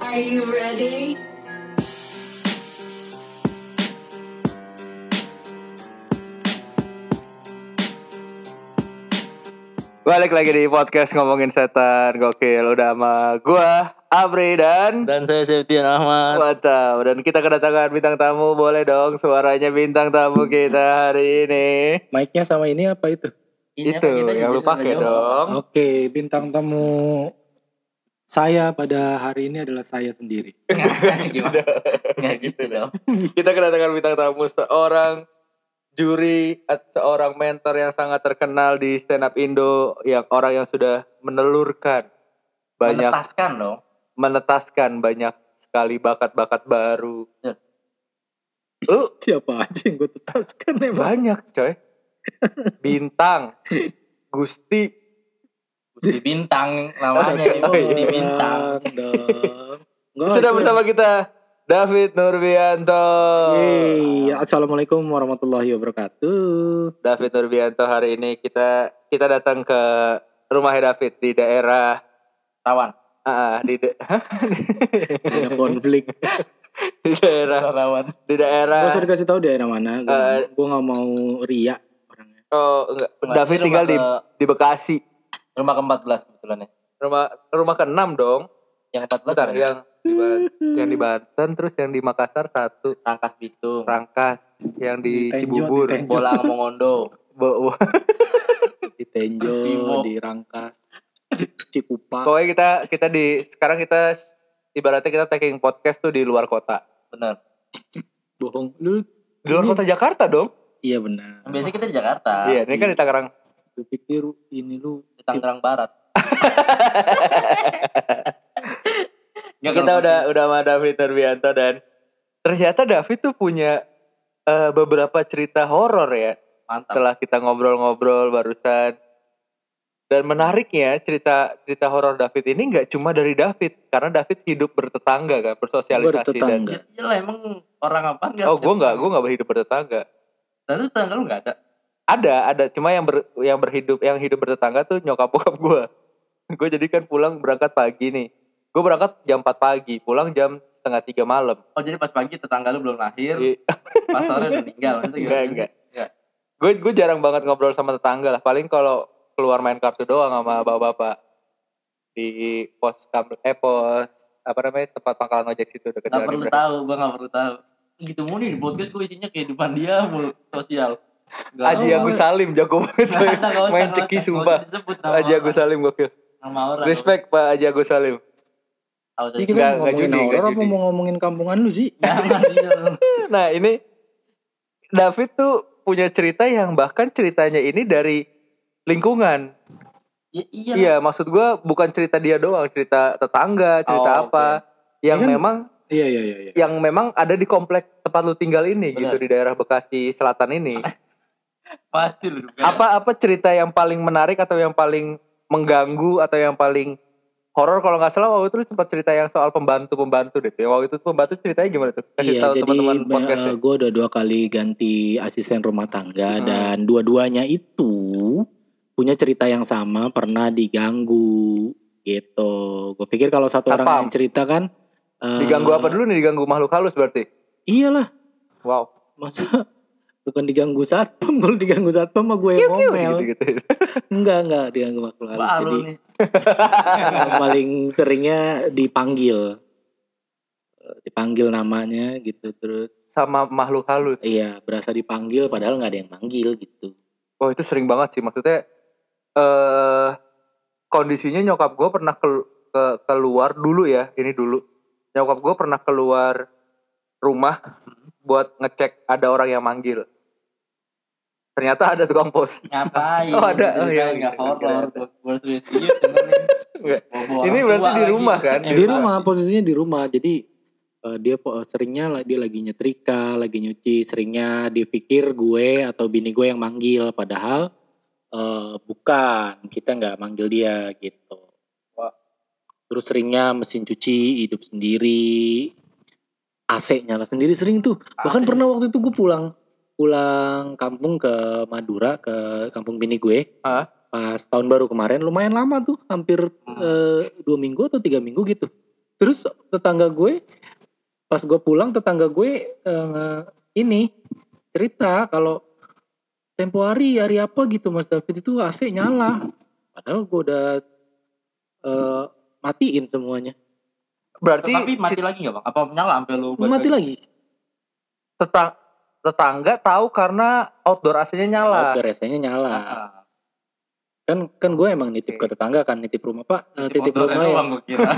Are you ready? Balik lagi di podcast ngomongin setan gokil udah sama gua Apri dan Dan saya Septian Ahmad. Watam dan kita kedatangan bintang tamu boleh dong suaranya bintang tamu kita hari ini Mic-nya sama ini apa itu? Iya, itu yang lu pakai dong Oke, bintang tamu saya pada hari ini adalah saya sendiri. Gimana? Nggak gitu dong. kita kedatangan bintang tamu seorang juri at- seorang mentor yang sangat terkenal di stand up Indo yang orang yang sudah menelurkan banyak Menetaskan dong. menetaskan banyak sekali bakat-bakat baru Ya. lu Siapa aja yang gue tetaskan emang? Banyak coy Bintang Gusti Gusti Bintang namanya. Iya. ya, Gusti Bintang. Dong. Nggak, Sudah Oh, itu- bersama kita David Nurbianto Yeay, Assalamualaikum warahmatullahi wabarakatuh. David Nurbianto hari ini kita kita datang ke rumahnya David di daerah Rawan. ah, di de- Ada konflik. di daerah Rawan. di Gak daerah usah dikasih tahu daerah mana. Eh. Gue nggak mau ria orangnya. oh enggak David Ini tinggal di rumah di Bekasi Rumah ke-14 kebetulan ya. rumah rumah keenam dong Yang kan? 14 Bentar, iya. mana? yang di Ban- yang di Banten terus yang di Makassar satu Rangkas Bitung. Rangkas yang di, Di Tenjo, Cibubur di Tenjo. Bolang Mongondo. Bo- bo- Di Tenjo, Timo. di Rangkas, Cikupa. Pokoknya kita kita di sekarang kita ibaratnya kita taking podcast tuh di luar kota. Bener. Iya. Bohong. Lu Di luar Ini- kota Jakarta dong. iya benar. Biasanya kita di Jakarta. Iya, ini kan di Tangerang. Gue pikir ini lu Di Tangerang Barat. Nggak, kita kalau- udah udah sama David Nurbianto dan ternyata David tuh punya eh, beberapa cerita horor ya. Mantap. Setelah kita ngobrol-ngobrol barusan dan menariknya cerita cerita horor David ini nggak cuma dari David karena David hidup bertetangga kan bersosialisasi dan bertetangga. Ya lah emang orang apa nggak oh gue nggak punya gue tetangga? nggak hidup bertetangga Lalu tetangga lu nggak ada. ada ada cuma yang ber, yang berhidup yang hidup bertetangga tuh nyokap bokap gue gue jadi kan pulang berangkat pagi nih gue berangkat jam 4 pagi pulang jam setengah tiga malam Oh jadi pas pagi tetangga lu belum lahir, I- pas sore udah meninggal. Maksudnya Iya. enggak gimana sih? enggak gue gue Iya. jarang banget ngobrol sama tetangga lah paling kalau keluar main kartu doang sama bapak-bapak di pos kam eh pos apa namanya tempat pangkalan ojek situ dekat jalan Gak perlu Imran. tahu, gua gak perlu tahu. Gitu mulu nih di podcast gue isinya kehidupan dia mulu sosial. Nggak Aji tahu. Agus Salim jago banget Nggak coy. ada, nggak usah, main nggak ceki usah. sumpah Nggak usah disebut nama Aji orang. Agus Salim gokil Nama orang. respect Pak Aji Agus Salim Tahu Ini tadi. kita Nggak- nggak mau ngomongin judi, nggak horor apa judi. mau ngomongin kampungan lu sih? Jangan iya. Nah ini David tuh punya cerita yang bahkan ceritanya ini dari lingkungan. Ya, iya. Iya, maksud gua bukan cerita dia doang, cerita tetangga, cerita Oh, apa yang Ini kan- memang Iya iya iya. iya. yang memang ada di komplek tempat lu tinggal ini Benar. gitu di daerah Bekasi Selatan ini. Ah, Pasti lu iya. duga. Apa apa cerita yang paling menarik atau yang paling mengganggu atau yang paling horor kalau nggak salah waktu itu lu sempat cerita yang soal pembantu-pembantu deh. Yang waktu itu pembantu ceritanya gimana tuh? Kasih Iya, tahu jadi teman-teman podcast ya. gue udah dua kali ganti asisten rumah tangga Hmm. dan dua-duanya itu punya cerita yang sama pernah diganggu gitu. Gue pikir kalau satu Satpam. orang yang cerita kan eh, Diganggu apa dulu nih? Diganggu makhluk halus berarti. Iyalah, Wow. masa bukan diganggu satpam kalau diganggu satpam mah gue yang ngomel. gitu-gitu. Enggak enggak diganggu makhluk halus. Baru Jadi nih. Yang paling seringnya dipanggil Eh, dipanggil namanya gitu terus sama makhluk halus. iya berasa dipanggil padahal nggak ada yang manggil gitu Wah itu sering banget sih maksudnya. Eh kondisinya nyokap gue pernah kel- ke- keluar dulu ya ini dulu. Nyokap gue pernah keluar rumah buat ngecek ada orang yang manggil. Ternyata ada tukang pos. Ngapain? Oh, ada. Oh, iya, Ceritain nggak iya, horor. iya. Gua gua serius. Iya, dengerin. Nggak. Bawa- bawa ini orang berarti tua di lagi. rumah kan? Eh, di Iya. rumah posisinya di rumah jadi eh, dia po- seringnya lah- dia lagi nyetrika lagi nyuci seringnya dipikir gue atau bini gue yang manggil padahal eh, bukan kita nggak manggil dia gitu Wah. terus seringnya mesin cuci hidup sendiri AC nyala sendiri sering tuh bahkan AC. pernah waktu itu gue pulang pulang kampung ke Madura ke kampung bini gue Hah? pas tahun baru kemarin lumayan lama tuh hampir eh, dua minggu atau tiga minggu gitu terus tetangga gue pas gue pulang tetangga gue eh, ini cerita kalau tempo hari hari apa gitu Mas David itu AC nyala padahal gue udah eh, matiin semuanya Berarti Tapi si mati lagi nggak bang? Apa nyala sampai lu? balik mati lagi? lagi tetang- tetangga tahu karena outdoor AC-nya nyala. outdoor AC-nya nyala Ah, kan kan gue emang nitip Oke. ke tetangga kan nitip rumah pak eh, Titip titip, motor rumah ya doang gue kira.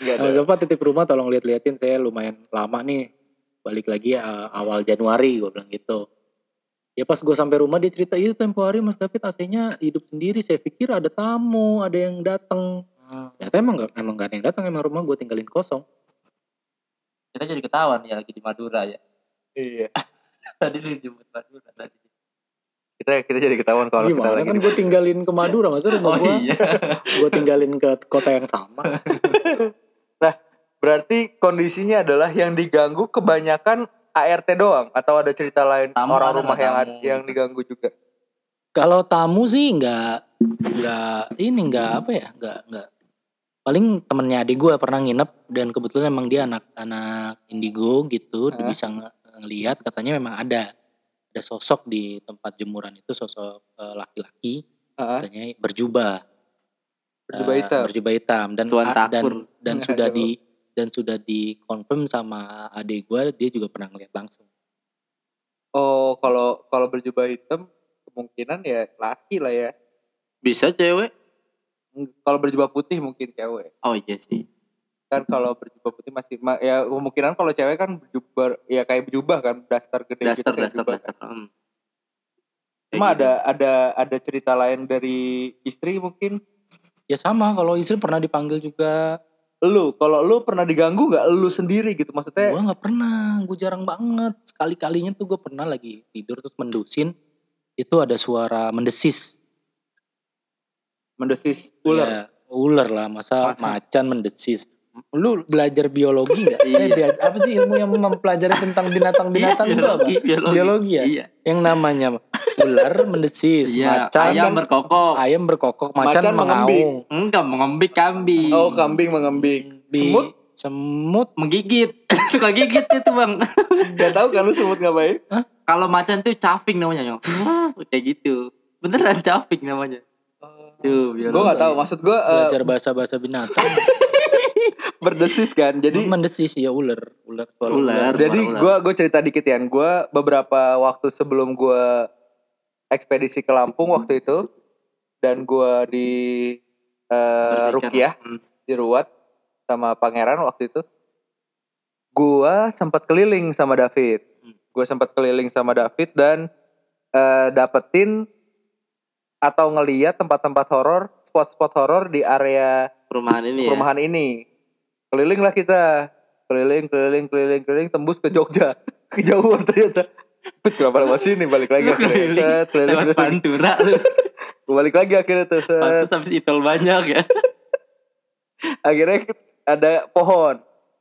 Iya, Nah, ada. sempat titip rumah tolong lihat-liatin saya lumayan lama nih. Balik lagi uh, awal Januari gue bilang gitu. Ya pas gue sampai rumah dia cerita, "Iya tempo hari Mas David AC-nya hidup sendiri. Saya pikir ada tamu, ada yang datang." Ah. Hmm, Ternyata emang gak, emang gak ada yang datang, emang rumah gue tinggalin kosong. Kita jadi ketahuan ya lagi di Madura ya. Iya. Tadi di jemput Madura tadi. Kita kita jadi ketahuan kalau kita Gimana lagi kan di gue tinggalin ke Madura, masa rumah Oh gue iya. gue tinggalin ke kota yang sama. Berarti kondisinya adalah yang diganggu kebanyakan ART doang atau ada cerita lain Tamu orang ada rumah nggak yang tamu? yang diganggu juga. Kalau tamu sih nggak nggak ini nggak apa ya nggak nggak paling temennya adik gue pernah nginep dan kebetulan emang dia anak-anak indigo gitu dia Hah? bisa nge- ngelihat katanya memang ada ada sosok di tempat jemuran itu sosok eh, laki-laki Heeh. katanya berjubah Berjubah eh, hitam. berjubah hitam dan Tuan a- dan Takur. dan Aduh. sudah di dan sudah dikonfirm sama adik gue dia juga pernah ngeliat langsung Oh, kalau kalau berjubah hitam kemungkinan ya laki lah ya. Bisa cewek? Kalau berjubah putih mungkin cewek. Oh iya sih. Kan kalau berjubah putih masih ma- ya kemungkinan kalau cewek kan berjubah ya kayak berjubah kan daster gede gitu Daster, kayak daster, jubah. daster. Hmm. Kayak Cuma gitu. ada ada ada cerita lain dari istri mungkin. ya sama kalau istri pernah dipanggil juga Lu kalau lu pernah diganggu nggak lu sendiri gitu maksudnya? Gue nggak pernah, gue jarang banget. Sekali-kalinya tuh gue pernah lagi tidur terus mendusin, itu ada suara mendesis. Mendesis ular. Ya, ular lah, masa, Masa? macan mendesis. Lu belajar biologi nggak? Eh, bia- apa sih ilmu yang mempelajari tentang binatang-binatang Iya, itu apa? biologi, Biologi ya? Iya. Yang namanya ular mendesis, macan Iya, kan? ayam berkokok. ayam berkokok, macan, Macan mengembing. mengaung. Enggak, mengembik kambing. Oh, kambing mengembik. Di- Semut? semut Menggigit. Suka gigit itu, Bang. Gak tahu kan lu semut ngapain? Kalau macan tuh caving namanya, Nyong. Kayak gitu. Beneran caving namanya. Tuh, biologi. Gue Oh. nggak tahu. Maksud eh, gue Eh, belajar bahasa-bahasa binatang. berdesis kan. Jadi mendesis ya ular, ular suara Ular. Suara jadi ular. gue gue cerita dikit ya. Gue beberapa waktu sebelum gue ekspedisi ke Lampung waktu itu dan gue di eh Bersihkan. Rukiah Hmm. di Ruat sama Pangeran waktu itu. Gue sempat keliling sama David. Hmm. Gue sempat keliling sama David dan eh, dapetin atau ngeliat tempat-tempat horor, spot-spot horor di area Perumahan ini ya. perumahan ini. Keliling lah kita. Keliling, keliling, keliling, keliling, tembus ke Jogja. Kejauhan ternyata. Put, kenapa lewat sini? Balik lagi Lu akhirnya. keliling, Set, keliling, Lewat keliling. Pantura lu. Balik lagi akhirnya tuh. set. Pantus habis itol banyak ya. Akhirnya ada pohon.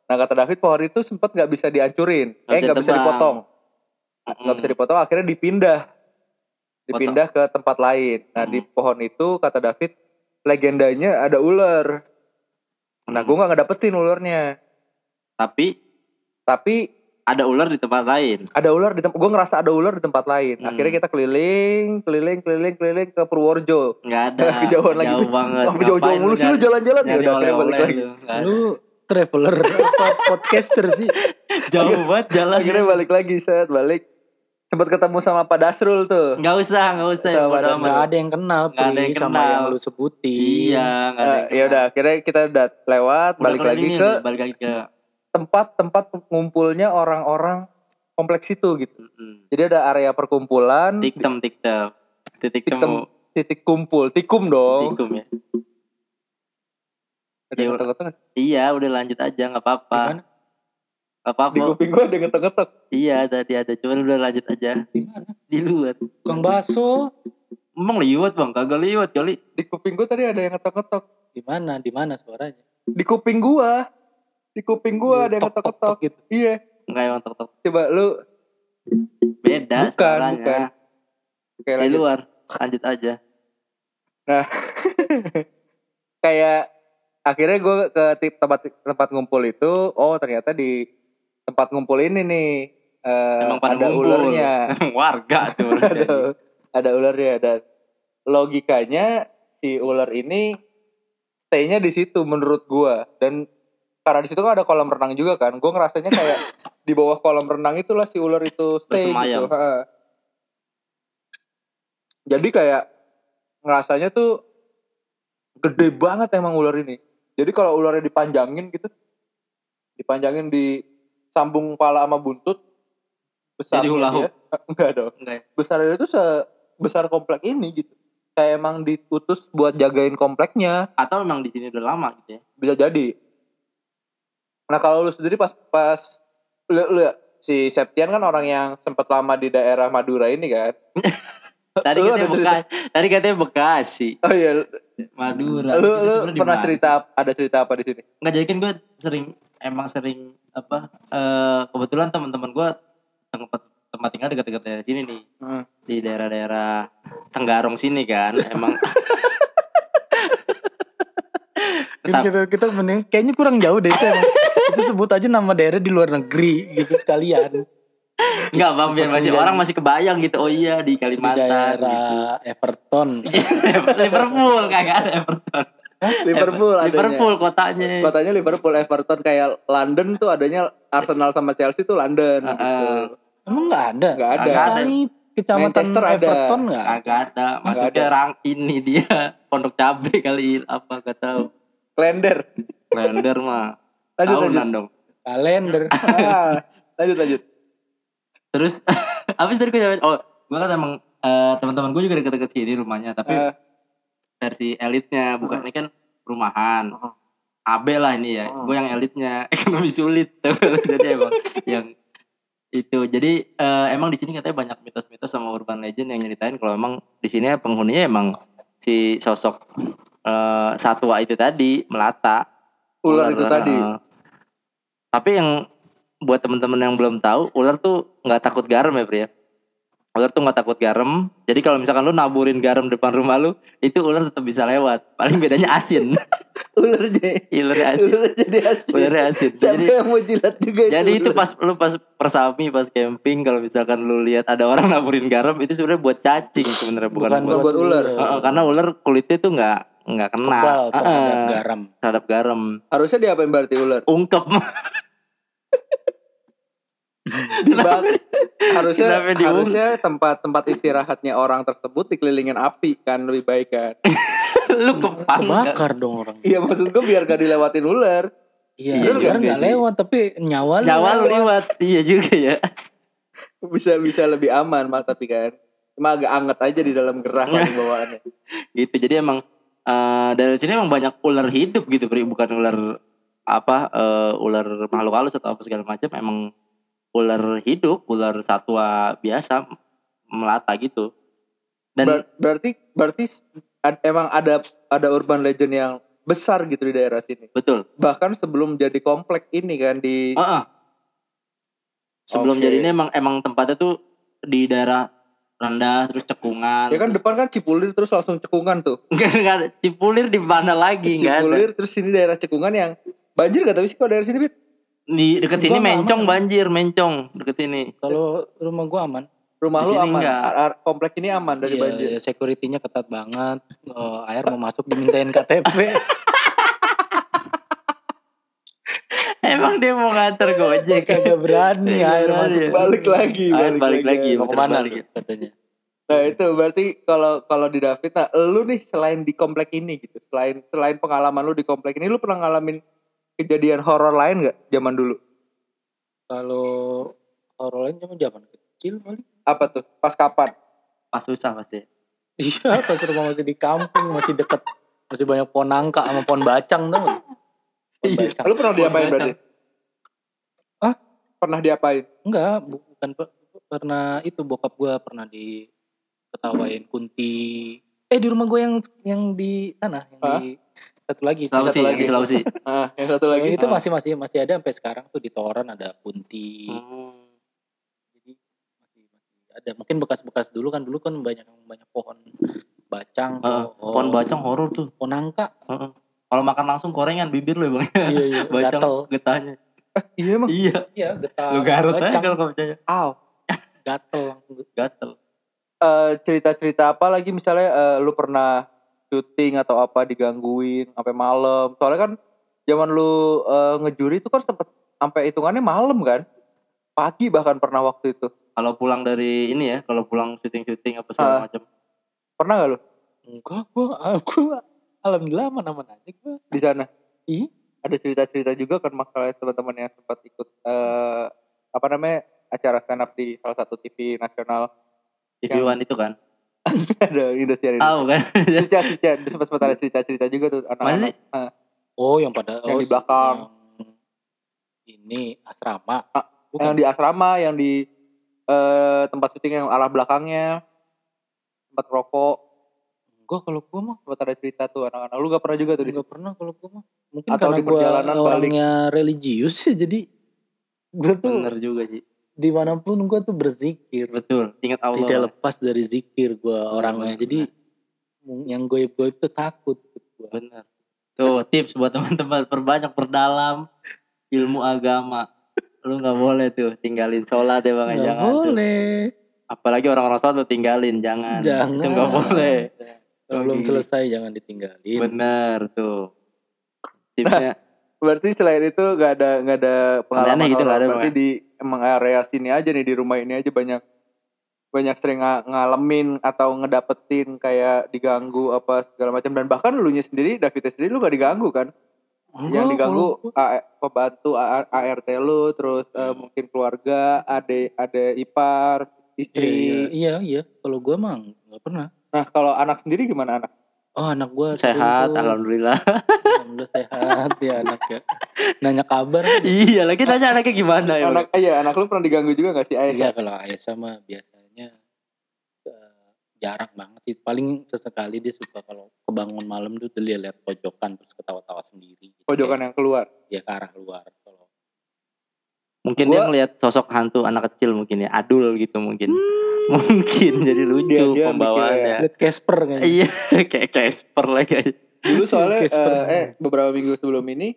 Nah kata David pohon itu sempat nggak bisa dihancurin. Nggak eh bisa nggak bisa ditebang. Hmm. dipotong. Nggak bisa dipotong akhirnya dipindah. Dipindah ke tempat lain. Nah di Hmm. pohon itu kata David legendanya ada ular. Nah Hmm. gue nggak ngedapetin ularnya. Tapi Tapi ada ular di tempat lain. ada ular di tempat gue ngerasa ada ular di tempat lain Hmm. akhirnya kita keliling keliling keliling keliling ke Purworejo Nggak ada. Kejauhan lagi. Nah, Jauh banget. Sampai jauh-jauh Ngapain mulu sih lu nyari- jalan-jalan ya nyari udah akhirnya balik oleh-oleh lagi lu. Nggak ada. Lu traveler apa podcaster sih? Jauh banget jalan. akhirnya balik lagi set balik sempat ketemu sama Pak Dasrul tuh Nggak usah, nggak usah. Sama bodo ada- amat. Gak ada yang kenal Nggak ada Pri, yang sama kenal. yang lu sebutin. Iya, nggak ada. Eh, ya udah akhirnya kita udah lewat balik lagi ke balik lagi ke tempat-tempat ngumpulnya orang-orang kompleks itu gitu Mm-mm. jadi ada area perkumpulan hmm, tiktem tiktem titik Tiktem. Oh. temu titik kumpul tikum dong tikum ya. ada yang ngetok-ngetok nggak? Iya, udah lanjut aja nggak Di apa-apa. mana? Nggak di apa-apa. kuping gua ada yang ngetok-ngetok Iya, tadi ada cuman udah lanjut aja Di mana? di luar. Tukang bakso. Emang liwat bang, kagak liwat kali. di kuping gua tadi ada yang ngetok-ngetok Di mana? Di mana suaranya? di kuping gua di kuping gua ada yang Tok, tok, ketok-ketok tok gitu. iya Enggak emang tok tok. coba lu Beda Bukan, suaranya. bukan. kayak ya. Di lanjut. luar. Lanjut aja. kayak akhirnya gue ke ti- tempat tempat ngumpul itu oh ternyata di tempat ngumpul ini nih eh, Emang pada ada ngumpul. ularnya Emang warga tuh. orang ada, jadi. ada ularnya dan logikanya si ular ini stay-nya di situ menurut gua dan karena di situ kan ada kolam renang juga kan gua ngerasanya kayak di bawah kolam renang itulah si ular itu stay gitu Bersemayam. ha. jadi kayak ngerasanya tuh gede banget emang ular ini jadi kalau ularnya dipanjangin gitu dipanjangin di sambung pala sama buntut besarnya hula hoop. dia enggak dong Enggak ya? besar itu sebesar komplek ini gitu. Kayak emang diutus buat jagain kompleknya Atau memang di sini udah lama gitu ya. bisa jadi. Nah kalau lu sendiri pas pas lu, lu- ya, si Septian kan orang yang sempet lama di daerah Madura ini kan. Tadi Lu katanya ada cerita- Bekasi. Tadi katanya Bekasi. Oh iya, lu, Madura. lu Jadi Nah, sebenarnya di pernah mana? cerita ada cerita apa di sini? nggak jadi kan gue sering emang sering apa eh, kebetulan teman-teman gue tempat tempat tinggal dekat-dekat daerah sini nih Hmm. di daerah-daerah Tenggarong sini kan emang Kita, kita, kita mending- kayaknya kurang jauh deh itu. emang. Kita sebut aja nama daerah di luar negeri gitu sekalian. nggak bang biar masih Pekerjaan. orang masih kebayang gitu oh iya di Di Kalimantan daerah Everton. gitu. Liverpool kagak ada Everton Liverpool adanya. Liverpool kotanya Kotanya Liverpool, Everton kayak London tuh adanya Arsenal sama Chelsea tuh London gitu. Heeh. Emang nggak ada? Nggak ada. Nggak ada. Ah. Kali kecamatan Manchester ada. Everton nggak? kagak ada masuknya rang ini dia pondok cabe kali apa gak tahu Lender. Blender mah Lanjut lanjut. tahunan dong Kalender. Ah, lanjut lanjut. terus abis dari gue nyampe- oh gue kan emang eh, teman-teman gue juga deket-deket sini rumahnya tapi Eh. versi elitnya bukan ini kan rumahan AB lah ini ya gue yang elitnya ekonomi sulit jadi emang yang itu jadi eh, emang di sini katanya banyak mitos-mitos sama urban legend yang nyeritain kalau emang di sini penghuninya emang si sosok eh, satwa itu tadi melata Ular itu tadi. eh, tapi yang buat temen-temen yang belum tahu, ular tuh nggak takut garam ya, Pri ya? Ular tuh nggak takut garam. Jadi kalau misalkan lu naburin garam depan rumah lu, itu ular tetap bisa lewat. Paling bedanya asin. ular jadi ular asin. ular jadi asin Ularnya asin. siapa Jadi yang Iya, mau jilat juga jadi itu ular. pas lu pas persami pas camping kalau misalkan lu lihat ada orang naburin garam itu sebenarnya buat cacing sebenarnya bukan, buat, buat ular. Heeh, karena ular kulitnya tuh nggak nggak kena Kebal terhadap Heeh, garam. terhadap garam harusnya diapain berarti ular ungkep dibak harusnya Kenapa diung- harusnya tempat-tempat istirahatnya orang tersebut dikelilingin api kan lebih baik kan lu kepang nggak? Kebakar dong orang. iya maksud gue biar gak dilewatin ular Iya, Iya ular juga nggak sih. lewat tapi nyawa lu Jawa lu lewat. lewat iya juga ya bisa bisa lebih aman mah tapi kan cuma agak anget aja di dalam gerah kan bawaannya gitu jadi emang eh, dari sini emang banyak ular hidup gitu Pri. bukan ular apa eh, ular makhluk halus atau apa segala macam emang ular hidup ular satwa biasa melata gitu dan Ber- berarti berarti ad- emang ada ada urban legend yang besar gitu di daerah sini betul bahkan sebelum jadi komplek ini kan di Heeh. Oh, sebelum Oke. jadi ini emang emang tempatnya tuh di daerah rendah terus cekungan ya kan terus- depan kan cipulir terus langsung cekungan tuh Nggak- nggak ada. cipulir di mana lagi nggak ada Cipulir terus sini daerah Cekungan yang banjir gak tapi sih kalau daerah sini Bit? di deket sini Gua nggak mencong banjir mencong deket sini Kalau rumah gua aman. Rumah lu Di sini aman, enggak. Ar- ar- komplek ini aman dari Iya, banjir. iya, security-nya ketat banget. Eh, air mau masuk dimintain KTP. emang dia mau nganter gojek Kagak berani Kagak air berani masuk. ya. Balik lagi, Ah, balik, lagi. balik lagi. Mau gitu. kemana Terbalik lu katanya? Nah itu berarti kalau kalau di David, nah lu nih selain di komplek ini gitu, selain selain pengalaman lu di komplek ini, lu pernah ngalamin kejadian horor lain gak zaman dulu? Kalau orang lain cuma zaman kecil kali. Apa tuh? Pas kapan? pas susah pasti Iya, pas rumah masih di kampung, masih deket, masih banyak pohon nangka sama pohon bacang tuh. Pohon Iya. bacang. Lu pernah diapain berarti? Hah? Pernah diapain? Enggak, bu- bukan pe- pernah itu bokap gua pernah di ketawain kunti. Eh di rumah gua yang yang di tanah, yang Hah? di satu lagi. Satu Sulawesi yang di lagi. Sulawesi Ah, yang satu lagi. Itu Ah. gitu masih masih masih ada sampai sekarang tuh di Toran ada kunti. Hmm. Hmm. Jadi masih masih ada. Mungkin bekas-bekas dulu kan dulu kan banyak banyak pohon bacang, Heeh, pohon bacang horor tuh pohon nangka. Heeh. Kalau makan langsung gorengan bibir lu bang, Iya, iya. Gatel. bacang getahnya. Iya emang. Iya, Iya, getar. lu garut aja Bacang, kalau kau Aw. Gatel langsung. gatel. Eh, cerita-cerita apa lagi misalnya eh, lu pernah syuting atau apa digangguin sampai malam. Soalnya kan zaman lu eh, ngejuri itu kan sempet sampai hitungannya malam kan. Pagi bahkan pernah waktu itu. Kalau pulang dari ini ya, kalau pulang syuting-syuting apa segala Ah. macam. Pernah gak lu Enggak, gua, gua alhamdulillah aman-aman aja gua. di sana? Ih. Ada cerita-cerita juga kan masalah teman-teman yang sempat ikut eh, apa namanya acara stand up di salah satu TV nasional TV One itu kan. ada Indosiar Ah, Indonesia. bukan. Suca, suca. Sempat sempat ada cerita-cerita juga tuh anak-anak. Masih Oh, yang pada Yang oh, di belakang. yang ini asrama. Ah, Bukan. yang di asrama, yang di eh, tempat syuting yang arah belakangnya, tempat rokok, Enggak kalau gua mah tempat ada cerita tuh anak-anak. Lu gak pernah juga tuh di enggak pernah kalau gua mah. Mungkin Atau karena di perjalanan gua balik. orangnya religius ya jadi gua tuh Bener juga sih. dimanapun gua tuh berzikir. Betul. Ingat Allah. Tidak Bang. lepas dari zikir gua orangnya. benar, jadi mu- yang goib-goib tuh takut gua. Bener. Tuh tips buat teman-teman perbanyak perdalam ilmu agama. Lu nggak boleh tuh tinggalin sholat ya bang, ya, Enggak jangan tuh. boleh. Apalagi orang-orang sholat tuh tinggalin, jangan. Jangan. Itu nggak boleh. Kalau belum Oke. selesai jangan ditinggalin. Bener tuh. Tipsnya Berarti selain itu gak ada gak ada pengalaman Aneh-aneh gitu horor. nggak ada, Berarti Bang, di emang area sini aja nih di rumah ini aja banyak banyak sering nga- ngalamin atau ngedapetin kayak diganggu apa segala macam dan bahkan lu sendiri Davidnya sendiri lu gak diganggu kan yang Oh, Enggak, diganggu kalau gua- A- pembantu A- ART lu terus eh, mungkin keluarga ade ade ipar Iya, iya, istri iya, iya. Kalau gua mah enggak pernah. nah kalau anak sendiri gimana anak Oh, anak gua sering sehat, tuh. alhamdulillah. Alhamdulillah sehat ya anak ya. Nanya kabar. iya, lagi tanya anaknya gimana ya. Bang? anak iya anak lu pernah diganggu juga gak sih ya? Iya Aisyah kalau Aisyah mah biasanya eh, jarang banget sih. Paling sesekali dia suka kalau kebangun malam tuh dia lihat pojokan terus ketawa-tawa sendiri. Gitu. pojokan yang keluar Dia ke arah luar. Kalau Mungkin dia Gua- ngelihat sosok hantu anak kecil mungkin ya, adul gitu mungkin. Hmm. Mungkin jadi lucu Dia- ya. dia pembawaannya. lihat Casper kan? kayaknya. Iya, kayak Casper lagi. aja. dulu soalnya Oke, seperti eh, eh, beberapa minggu sebelum ini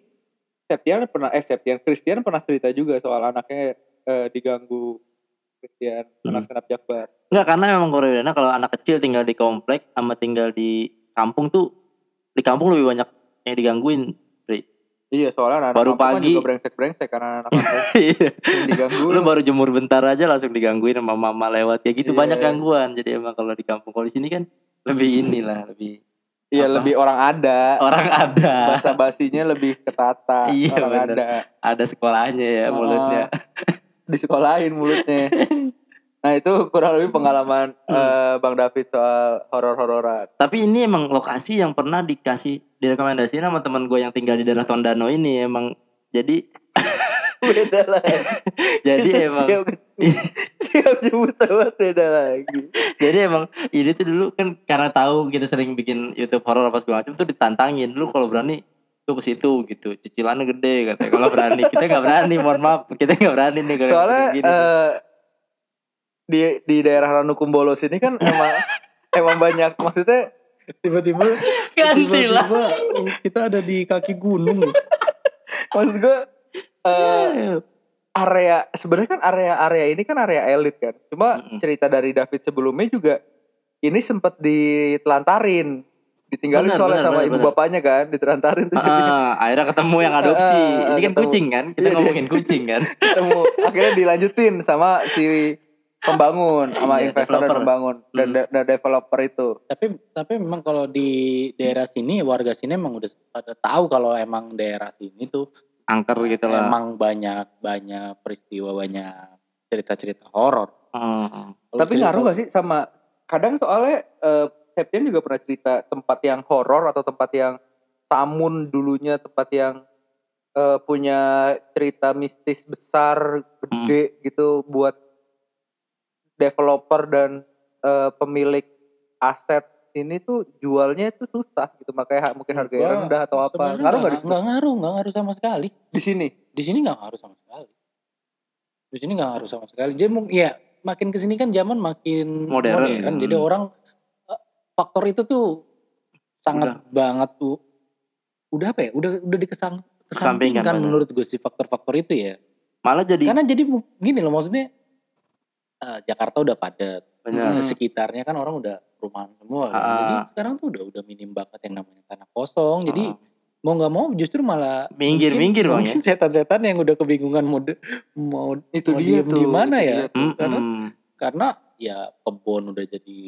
Septian pernah eh Septian Christian pernah cerita juga soal anaknya eh, diganggu Christian Hmm. anak senap Jakbar Enggak karena memang Korea kalau anak kecil tinggal di komplek sama tinggal di kampung tuh di kampung lebih banyak yang digangguin. iya soalnya anak Baru pagi. juga brengsek brengsek karena anak anak Iya. diganggu Lu baru jemur bentar aja langsung digangguin sama mama lewat ya gitu Iya. banyak gangguan. Jadi emang kalau di kampung kalau di sini kan lebih inilah lebih iya apa? lebih orang ada orang ada bahasa basinya lebih ketata Iya, orang bener. ada ada sekolahnya ya Ah. mulutnya. di sekolahin mulutnya nah itu kurang lebih pengalaman eh, bang David soal horor-hororan Tapi ini emang lokasi yang pernah dikasih direkomendasiin sama teman gue yang tinggal di daerah Tondano ini emang jadi beda lagi jadi emang siap, siap nyebut nama beda lagi Jadi emang ini tuh dulu kan karena tahu kita sering bikin YouTube horor apa segala macam tuh ditantangin lu kalau berani lu ke situ gitu. Cicilannya gede katanya. Kalau berani kita nggak berani, mohon maaf kita nggak berani nih kalau soalnya gini. eh, di di daerah Ranukumbolo sini kan emang emang banyak maksudnya Tiba-tiba Kan ganti lah. tiba-tiba kita ada di kaki gunung. maksud gue eh, Iya. area sebenarnya kan area-area ini kan area elit kan. Cuma Mm-mm. cerita dari David sebelumnya juga ini sempat ditelantarin, ditinggalin Benar, soalnya benar, sama benar, ibu benar. bapaknya kan, ditelantarin tuh jadi Ah, akhirnya ketemu yang adopsi. Ah, ah, ini kan ketemu. kucing kan? Kita Iya, ngomongin kucing kan. ketemu. Akhirnya dilanjutin sama si pembangun sama Iya, investor dan developer. pembangun dan, de- dan developer itu. tapi tapi memang kalau di daerah sini warga sini emang udah pada tahu kalau emang daerah sini tuh Angker gitu lah. emang banyak banyak peristiwa banyak cerita-cerita horor. Hmm. Kalau Tapi cerita- ngaruh gak sih sama kadang soalnya eh, Septian juga pernah cerita tempat yang horor atau tempat yang samun dulunya tempat yang eh, punya cerita mistis besar gede gitu buat developer dan eh, pemilik aset sini tuh jualnya itu susah gitu makanya ha- mungkin harganya Enggak, rendah atau apa ngaruh sebenarnya nggak nggak di situ? nggak ngaruh, nggak ngaruh sama sekali. di sini Di sini nggak ngaruh sama sekali. Di sini nggak ngaruh sama sekali. Jadi mung- ya makin kesini kan zaman makin Modern. Hmm. Jadi orang eh, faktor itu tuh sangat banget tuh udah apa ya udah udah dikesang Kesampingkan, kesampingkan bener. menurut gue si faktor-faktor itu ya Malah jadi Kan, karena jadi mu- gini loh maksudnya eh, Jakarta udah padat bener. hmm, Nah, sekitarnya kan orang udah perumahan semua kan. Hmm. Ah. jadi sekarang tuh udah udah minim banget yang namanya tanah kosong jadi Heeh. mau nggak mau justru malah minggir-minggir Ah. bang ya. mungkin setan-setan yang udah kebingungan mau de- mau itu Mau dia diem tuh di mana itu ya? dia tuh. karena- Mm-mm. karena ya kebun udah jadi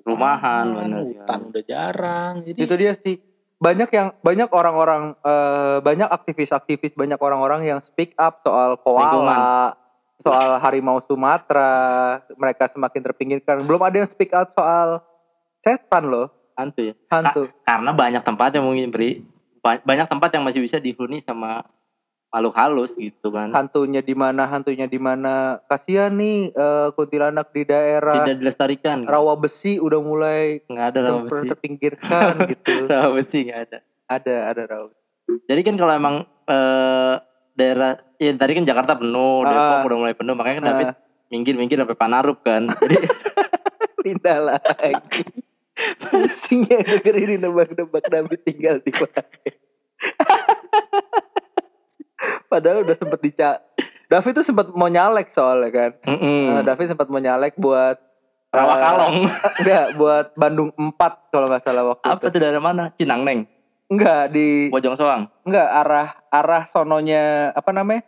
Rumahan, bener sih. hutan udah jarang jadi itu dia sih banyak yang banyak orang-orang eh, banyak aktivis-aktivis banyak orang-orang yang speak up soal koala soal harimau Sumatera mereka semakin terpinggirkan belum ada yang speak up soal setan loh Hantu ya. hantu Karena banyak tempat yang mungkin beri ba- banyak tempat yang masih bisa dihuni sama makhluk halus gitu kan. hantunya di mana hantunya di mana kasihan nih eh, kuntilanak di daerah Tidak dilestarikan. gitu. rawa besi udah mulai nggak ada rawa ter- besi. terpinggirkan gitu Rawa besi nggak ada. ada ada rawa Jadi kan kalau emang eh, daerah ya tadi kan Jakarta penuh, Ah. Depok udah mulai penuh, makanya kan David Ah. minggir-minggir sampai Panarup kan. Jadi Linda lagi. Pusingnya dengerin ini nebak-nebak David tinggal di mana. Padahal udah sempet dicak. David tuh sempat mau nyalek soalnya kan. mm-mm. Eh, David sempat mau nyalek buat eh, rawa kalong. enggak buat Bandung 4 kalau nggak salah waktu Apa itu. tuh daerah mana? Cinang Neng, Enggak di Bojong Soang. enggak arah arah sononya apa namanya?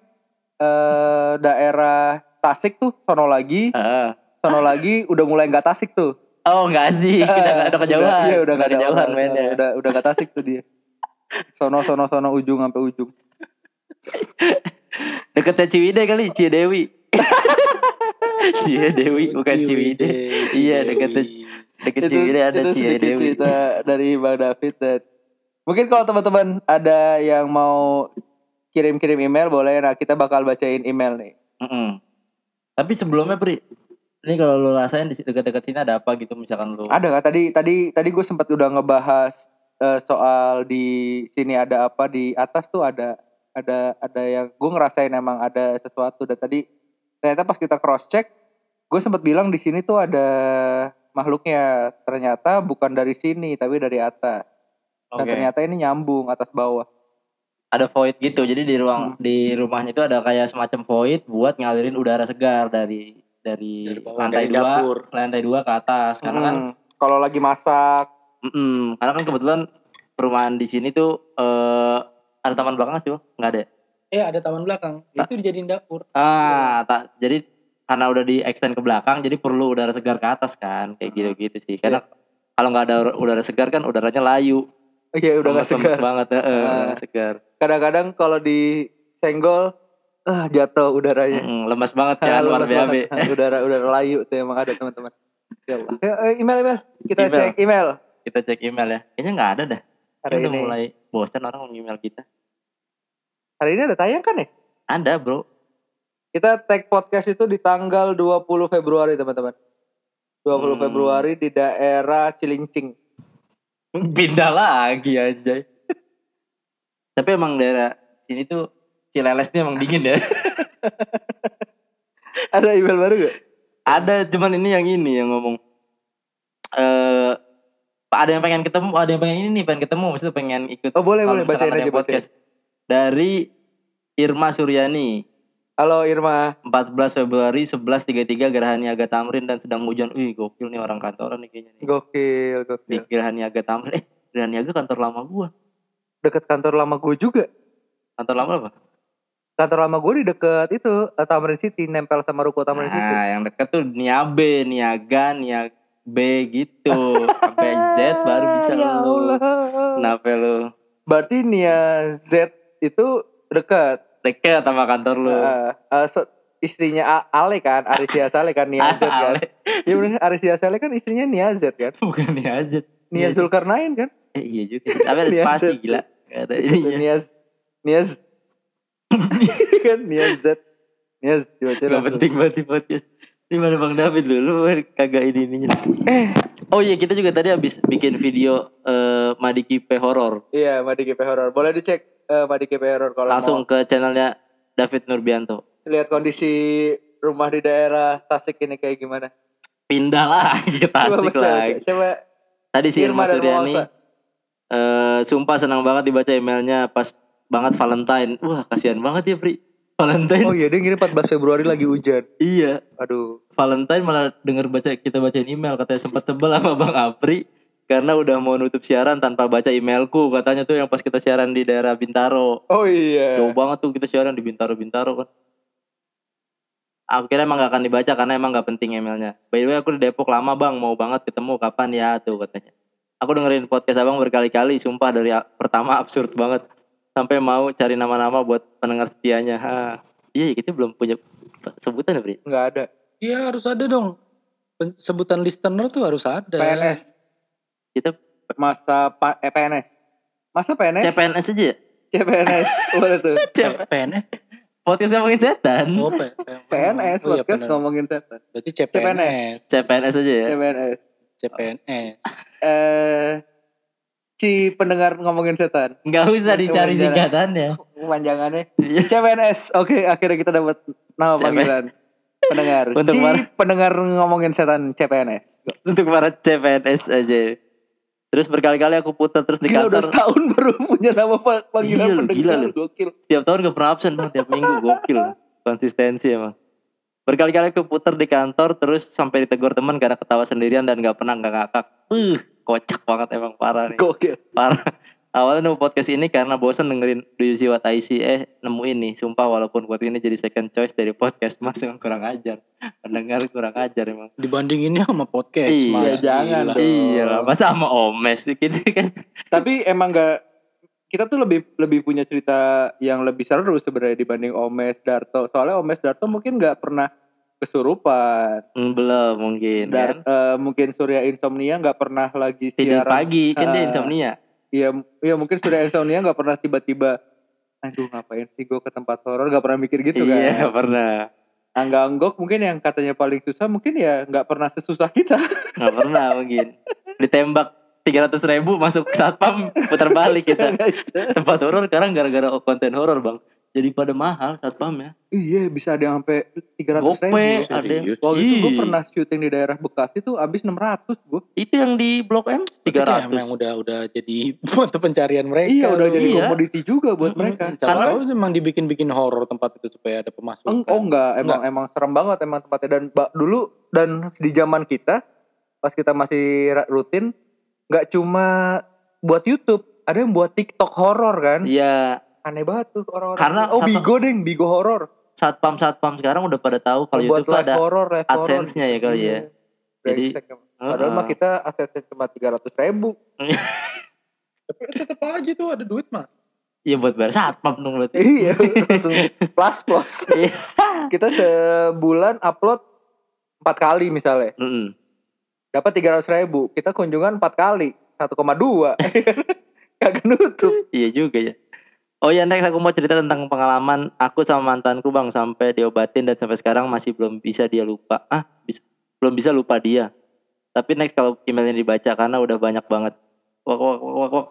Eh daerah Tasik tuh sono lagi, Heeh. sono lagi udah mulai nggak Tasik tuh. Oh enggak sih, kita enggak ada kejauhan. Udah, iya, udah Nggak gak ada kejauhan orang, mainnya. Udah udah gak tasik tuh dia. Sono sono sono ujung sampai ujung. Deketnya Ciwide kali, Cidewi. Cidewi Oh, bukan Ciwide. Iya, deketnya deket Ciwide ada sedikit Cidewi. cerita dari Bang David dan mungkin kalau teman-teman ada yang mau kirim-kirim email boleh nah kita bakal bacain email nih. Mm-mm. Tapi sebelumnya Pri, ini kalau lu rasain di dekat-dekat sini ada apa gitu misalkan lu Ada kan tadi tadi tadi gue sempat udah ngebahas eh, soal di sini ada apa di atas tuh ada ada ada yang gue ngerasain emang ada sesuatu dan tadi ternyata pas kita cross check gue sempat bilang di sini tuh ada makhluknya ternyata bukan dari sini tapi dari atas dan Oke. ternyata ini nyambung atas bawah ada void gitu. Jadi di ruang di rumahnya itu ada kayak semacam void buat ngalirin udara segar dari dari, Dari bawah, lantai dari dua dapur. lantai dua ke atas karena kan Hmm, kalau lagi masak mm-mm, karena kan kebetulan perumahan di sini tuh eh ada taman belakang nggak sih bang nggak ada ya? eh ada taman belakang itu dijadiin dapur ah tak jadi karena udah di extend ke belakang jadi perlu udara segar ke atas kan kayak gitu gitu sih karena kalau nggak ada udara segar kan udaranya layu iya udah nggak Lemes-lemes segar banget eh, eh, udah Ah. nggak segar kadang-kadang kalau disenggol ah jatuh udaranya Mm-mm, lemes banget Ah, kan luar lemes BAB banget. Ah, udara udara layu tuh emang ada teman-teman. Ya Allah. Ya, eh, email email. Kita Email. cek email kita cek email ya kayaknya nggak ada dah hari ini. Kayaknya udah mulai bosan orang email kita Hari ini ada tayang kan ya? ada bro Kita tag podcast itu di tanggal 20 Februari teman-teman. 20 Hmm. Februari di daerah Cilincing. pindah lagi anjay tapi emang daerah sini tuh Cilelesnya emang dingin ya Ada email baru gak? ada cuman ini yang ini yang ngomong eh Pak ada yang pengen ketemu ada yang pengen ini nih pengen ketemu maksudnya pengen ikut Oh boleh boleh kalau misalkan bacain ada aja yang bacain. dari Irma Suryani Halo Irma. 14 Februari 11.33 Geraha Niaga Tamrin dan sedang hujan. Wih, gokil nih orang kantoran nih kayaknya nih. Gokil Di gokil. Geraha Niaga Tamrin. Eh, Geraha Niaga kantor lama gua. Deket kantor lama gue juga. Kantor lama apa? Kantor lama gue di deket itu eh, Tamrin City nempel sama ruko Tamrin City. Nah, yang deket tuh Niabe, Niaga, Niaga B gitu. Sampai Z baru bisa Ya lu. Allah. Kenapa lu? Berarti Nia Z itu dekat. Deket sama kantor lu. Heeh. Eh, so- istrinya A- Ale kan, Arisia Sale kan, Nia Z kan. Ale. Iya bener, Arisia Sale kan istrinya Nia Z kan. Bukan Niazet. Nia Zulkarnain kan. Eh, iya juga. Tapi ada Nia spasi Zed. gila. Gak ada ininya. Nia Z- Nia Z. kan Nia Z. Nia Z dibaca Gak langsung. penting banget di podcast. Ini mana Bang David dulu, lu kan kagak ini ininya. Oh iya, kita juga tadi habis bikin video eh Madiki P horor. Iya, Madi GP Horror. Boleh dicek eh, Madi GP Horror kalau Langsung ke channelnya David Nurbianto. mau lihat kondisi rumah di daerah Tasik ini kayak gimana. Pindah lagi ke Coba Tasik baca, lagi. baca. Coba Tadi si Irma, Irma dan Suryani Mawasa. eh Eh, sumpah senang banget dibaca emailnya pas banget Valentine. Wah, kasihan banget ya, Pri. Valentine. Oh iya dia ngirim 14 Februari lagi hujan. Iya, Aduh. Valentine malah denger baca kita bacain email katanya sempat sebel sama Bang Apri karena udah mau nutup siaran tanpa baca emailku katanya tuh yang pas kita siaran di daerah Bintaro. Oh iya. Jauh banget tuh kita siaran di Bintaro Bintaro kan. Aku kira emang gak akan dibaca karena emang gak penting emailnya. By the way aku di Depok lama bang, mau banget ketemu kapan ya tuh katanya. Aku dengerin podcast abang berkali-kali, sumpah dari a- pertama absurd banget. Sampai mau cari nama-nama buat pendengar setianya. Ha. Iya, kita belum punya sebutan ya, Bri? Nggak ada. Iya harus ada dong. Pen- Sebutan listener tuh harus ada. PNS. Kita Masa pa- eh, PNS. Masa PNS? CPNS aja ya? CPNS. Waduh tuh. CP P- PNS. podcast ngomongin setan. Oh, P- P- PNS Oh, iya, podcast bener. ngomongin setan. Berarti CPNS. CPNS. CPNS aja ya. CPNS. CPNS. Eh si pendengar ngomongin setan. Nggak usah dicari Ngomongin setan. singkatannya. Kepanjangannya Iya. CPNS. Oke, akhirnya kita dapat nama CPNS. panggilan. Pendengar. Untuk Ci, para- pendengar ngomongin setan CPNS. Untuk para CPNS aja. Terus berkali-kali aku putar terus di Gila udah kantor. setahun baru punya nama pa- panggilan Iya lu, gila lu. Gokil. Setiap tahun gak pernah absen bang, tiap minggu gokil. Konsistensi emang. Berkali-kali aku putar di kantor terus sampai ditegur teman karena ketawa sendirian dan gak pernah nggak ngakak. Uh, kocak banget emang parah nih. Gokil. Parah. Awalnya nemu podcast ini karena bosen dengerin Do You See What I See Eh nemuin nih Sumpah walaupun buat ini jadi second choice dari podcast Mas emang kurang ajar Pendengar kurang ajar emang Dibandinginnya sama podcast. Iya, Mas. jangan Gila. dong. Iya lah Masa sama Omes gitu kan Tapi emang gak kita tuh lebih lebih punya cerita yang lebih seru sebenarnya dibanding Omes Darto. Soalnya Omes Darto mungkin nggak pernah kesurupan. Hmm, Belum mungkin Dan kan eh, mungkin Surya Insomnia nggak pernah lagi Tidur siaran. pagi kan dia Ah. insomnia Iya, iya mungkin Surya Insomnia nggak pernah tiba-tiba aduh ngapain sih gue ke tempat horor nggak pernah mikir gitu Iya kan. nggak pernah Angga Anggok mungkin yang katanya paling susah mungkin ya nggak pernah sesusah kita. Gak pernah mungkin Ditembak 300 ribu masuk satpam putar balik kita Tempat horor sekarang gara-gara konten horor bang Jadi pada mahal satpamnya Iya bisa ada yang sampai 300 Gope, ribu. ada yang Serius? Waktu itu gue Ih, pernah syuting di daerah Bekasi tuh abis 600 gue. itu yang di Blok M Berarti kayak emang 300. udah udah jadi mata pencarian mereka. Iya udah tuh. jadi kan. Iya. komoditi juga buat Mm-mm. mereka. Siapa Karena- tahu emang dibikin-bikin horor tempat itu supaya ada pemasukan. Eng- oh enggak, emang emang serem banget emang tempatnya dan ba- dulu dan di zaman kita pas kita masih ra- rutin nggak cuma buat YouTube, ada yang buat TikTok horor kan. Iya, Aneh banget tuh orang-orang. Karena oh satu- Bigo deh, Bigo horor. satpam-satpam sekarang udah pada tahu kalau Buat YouTube live tuh ada horor, live horor. AdSense-nya ya kali ya. Jadi, Brengsek emang. Padahal mah Heeh. kita asetnya cuma 300 ribu. Tapi tetap aja tuh ada duit mah. Iya buat bayar satpam dong berarti. Iya, langsung plus plus. Iya. kita sebulan upload empat kali misalnya, Mm-mm. dapat tiga ratus ribu. Kita kunjungan empat kali, 1,2 Kagak nutup. Iya juga ya. Oh ya next aku mau cerita tentang pengalaman aku sama mantanku bang sampai diobatin dan sampai sekarang masih belum bisa dia lupa. Ah, bisa, belum bisa lupa dia. Tapi next kalau emailnya dibaca karena udah banyak banget. Wak wak wak wak. wak.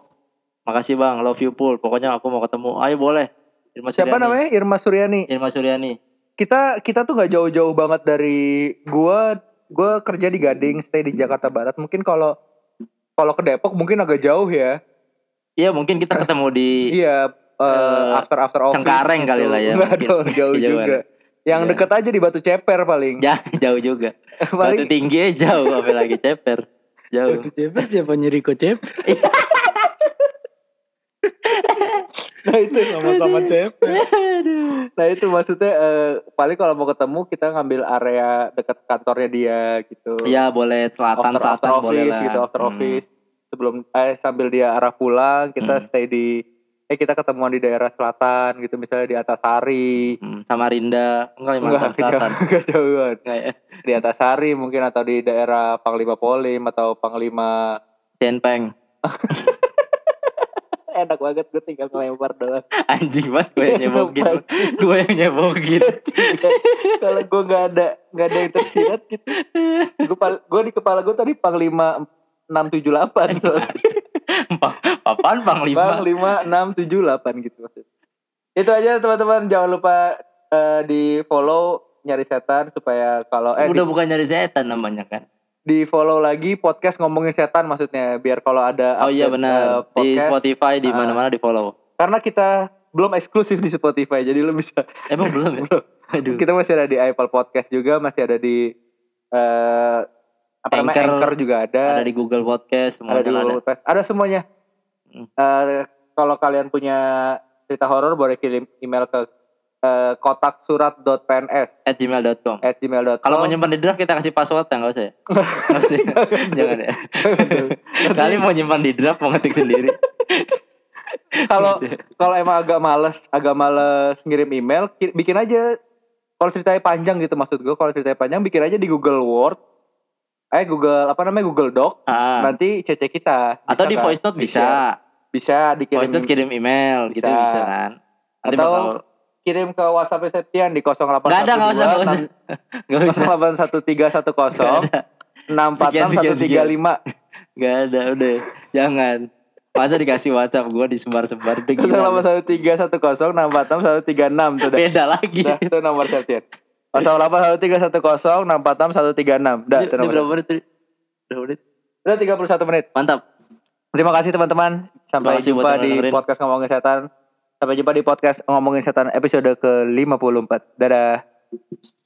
Makasih bang, love you full. Pokoknya aku mau ketemu. Ayo boleh. Irma Siapa Suryani. namanya? Irma Suryani. Irma Suryani. Kita kita tuh nggak jauh-jauh banget dari gua gua kerja di Gading, stay di Jakarta Barat. Mungkin kalau kalau ke Depok mungkin agak jauh ya. Iya mungkin kita ketemu di Iya, eh, Eh, after after office. gitu. Cengkareng kali lah ya, Nggak mungkin. dong, jauh Kejauhan. juga. Yang Iya. deket aja di Batu Ceper paling. Ja- jauh juga. Batu paling tinggi aja jauh apalagi ceper. Jauh. Itu Cepet siapa nyeri Cep? nah itu Sama-sama Cepet. nah itu maksudnya eh, paling kalau mau ketemu kita ngambil area dekat kantornya dia gitu Iya boleh after, selatan selatan after boleh office lah. gitu after Hmm. office sebelum eh sambil dia arah pulang kita Hmm. stay di eh kita ketemuan di daerah selatan gitu misalnya di atas hari Hmm, Samarinda, enggak Kalimantan enggak Selatan. kejauhan, kejauhan. Enggak ya. di atas hari mungkin atau di daerah Panglima Polim atau Panglima Denpeng. eh, enak banget gue tinggal ngelempar doang Anjing banget gue yang nyebokin. Denpeng. gue yang nyebokin. kalau gue nggak ada nggak ada yang tersirat gitu gue gue di kepala gue tadi panglima enam tujuh delapan Pa- Papan Panglima. panglima enam tujuh delapan gitu maksudnya itu aja teman-teman jangan lupa eh, di follow nyari setan supaya kalau eh Udah di- bukan nyari setan namanya kan. di follow lagi podcast ngomongin setan maksudnya biar kalau ada Oh update, eh, iya benar. Di podcast Spotify di Ah. mana-mana di follow. karena kita belum eksklusif di Spotify jadi lo bisa Emang belum ya? Belum. Aduh. kita masih ada di Apple Podcast juga masih ada di eh apa namanya Anchor. Anchor juga ada Ada di Google Podcast eh, ada semuanya di lah ada. Google Podcast. Ada semuanya. Hmm. Eh, kalau kalian punya cerita horor boleh kirim email ke eh, kotaksurat.pns At gmail.com. at gmail.com. Kalau mau nyimpan di draft kita kasih password ya nggak usah ya? Nggak usah ya? Jangan ya. Kali mau nyimpan di draft mau ngetik sendiri. kalau gitu. kalau emang agak males, agak males ngirim email, ki- bikin aja kalau ceritanya panjang gitu maksud gue, kalau ceritanya panjang bikin aja di Google Word. Eh Google apa namanya Google Doc. Ah. Nanti cece kita. Bisa kan? Iya. Atau di nggak? voice note bisa. Bisa dikirim Voice note kirim email gitu Bisa. bisa kan. Nanti atau bakal kirim ke WhatsApp Septian di 0812 Gak ada, gak usah, gak usah. Gak usah. 081310 Sekian, sekian, 646135 Gak ada udah. Jangan. Masa dikasih WhatsApp gue disebar-sebar udah gila. 081310 646136 tuh dah. Beda lagi. Dah, itu nomor Septian. 081310 646136. Dah, Ini- itu ini nomor. berapa menit? tadi? Berapa menit? Udah 31 menit. Mantap. Terima kasih teman-teman. Sampai Terima kasih buat jumpa yang di dengerin. podcast ngomongin setan. Sampai jumpa di podcast ngomongin setan episode ke-54. Dadah.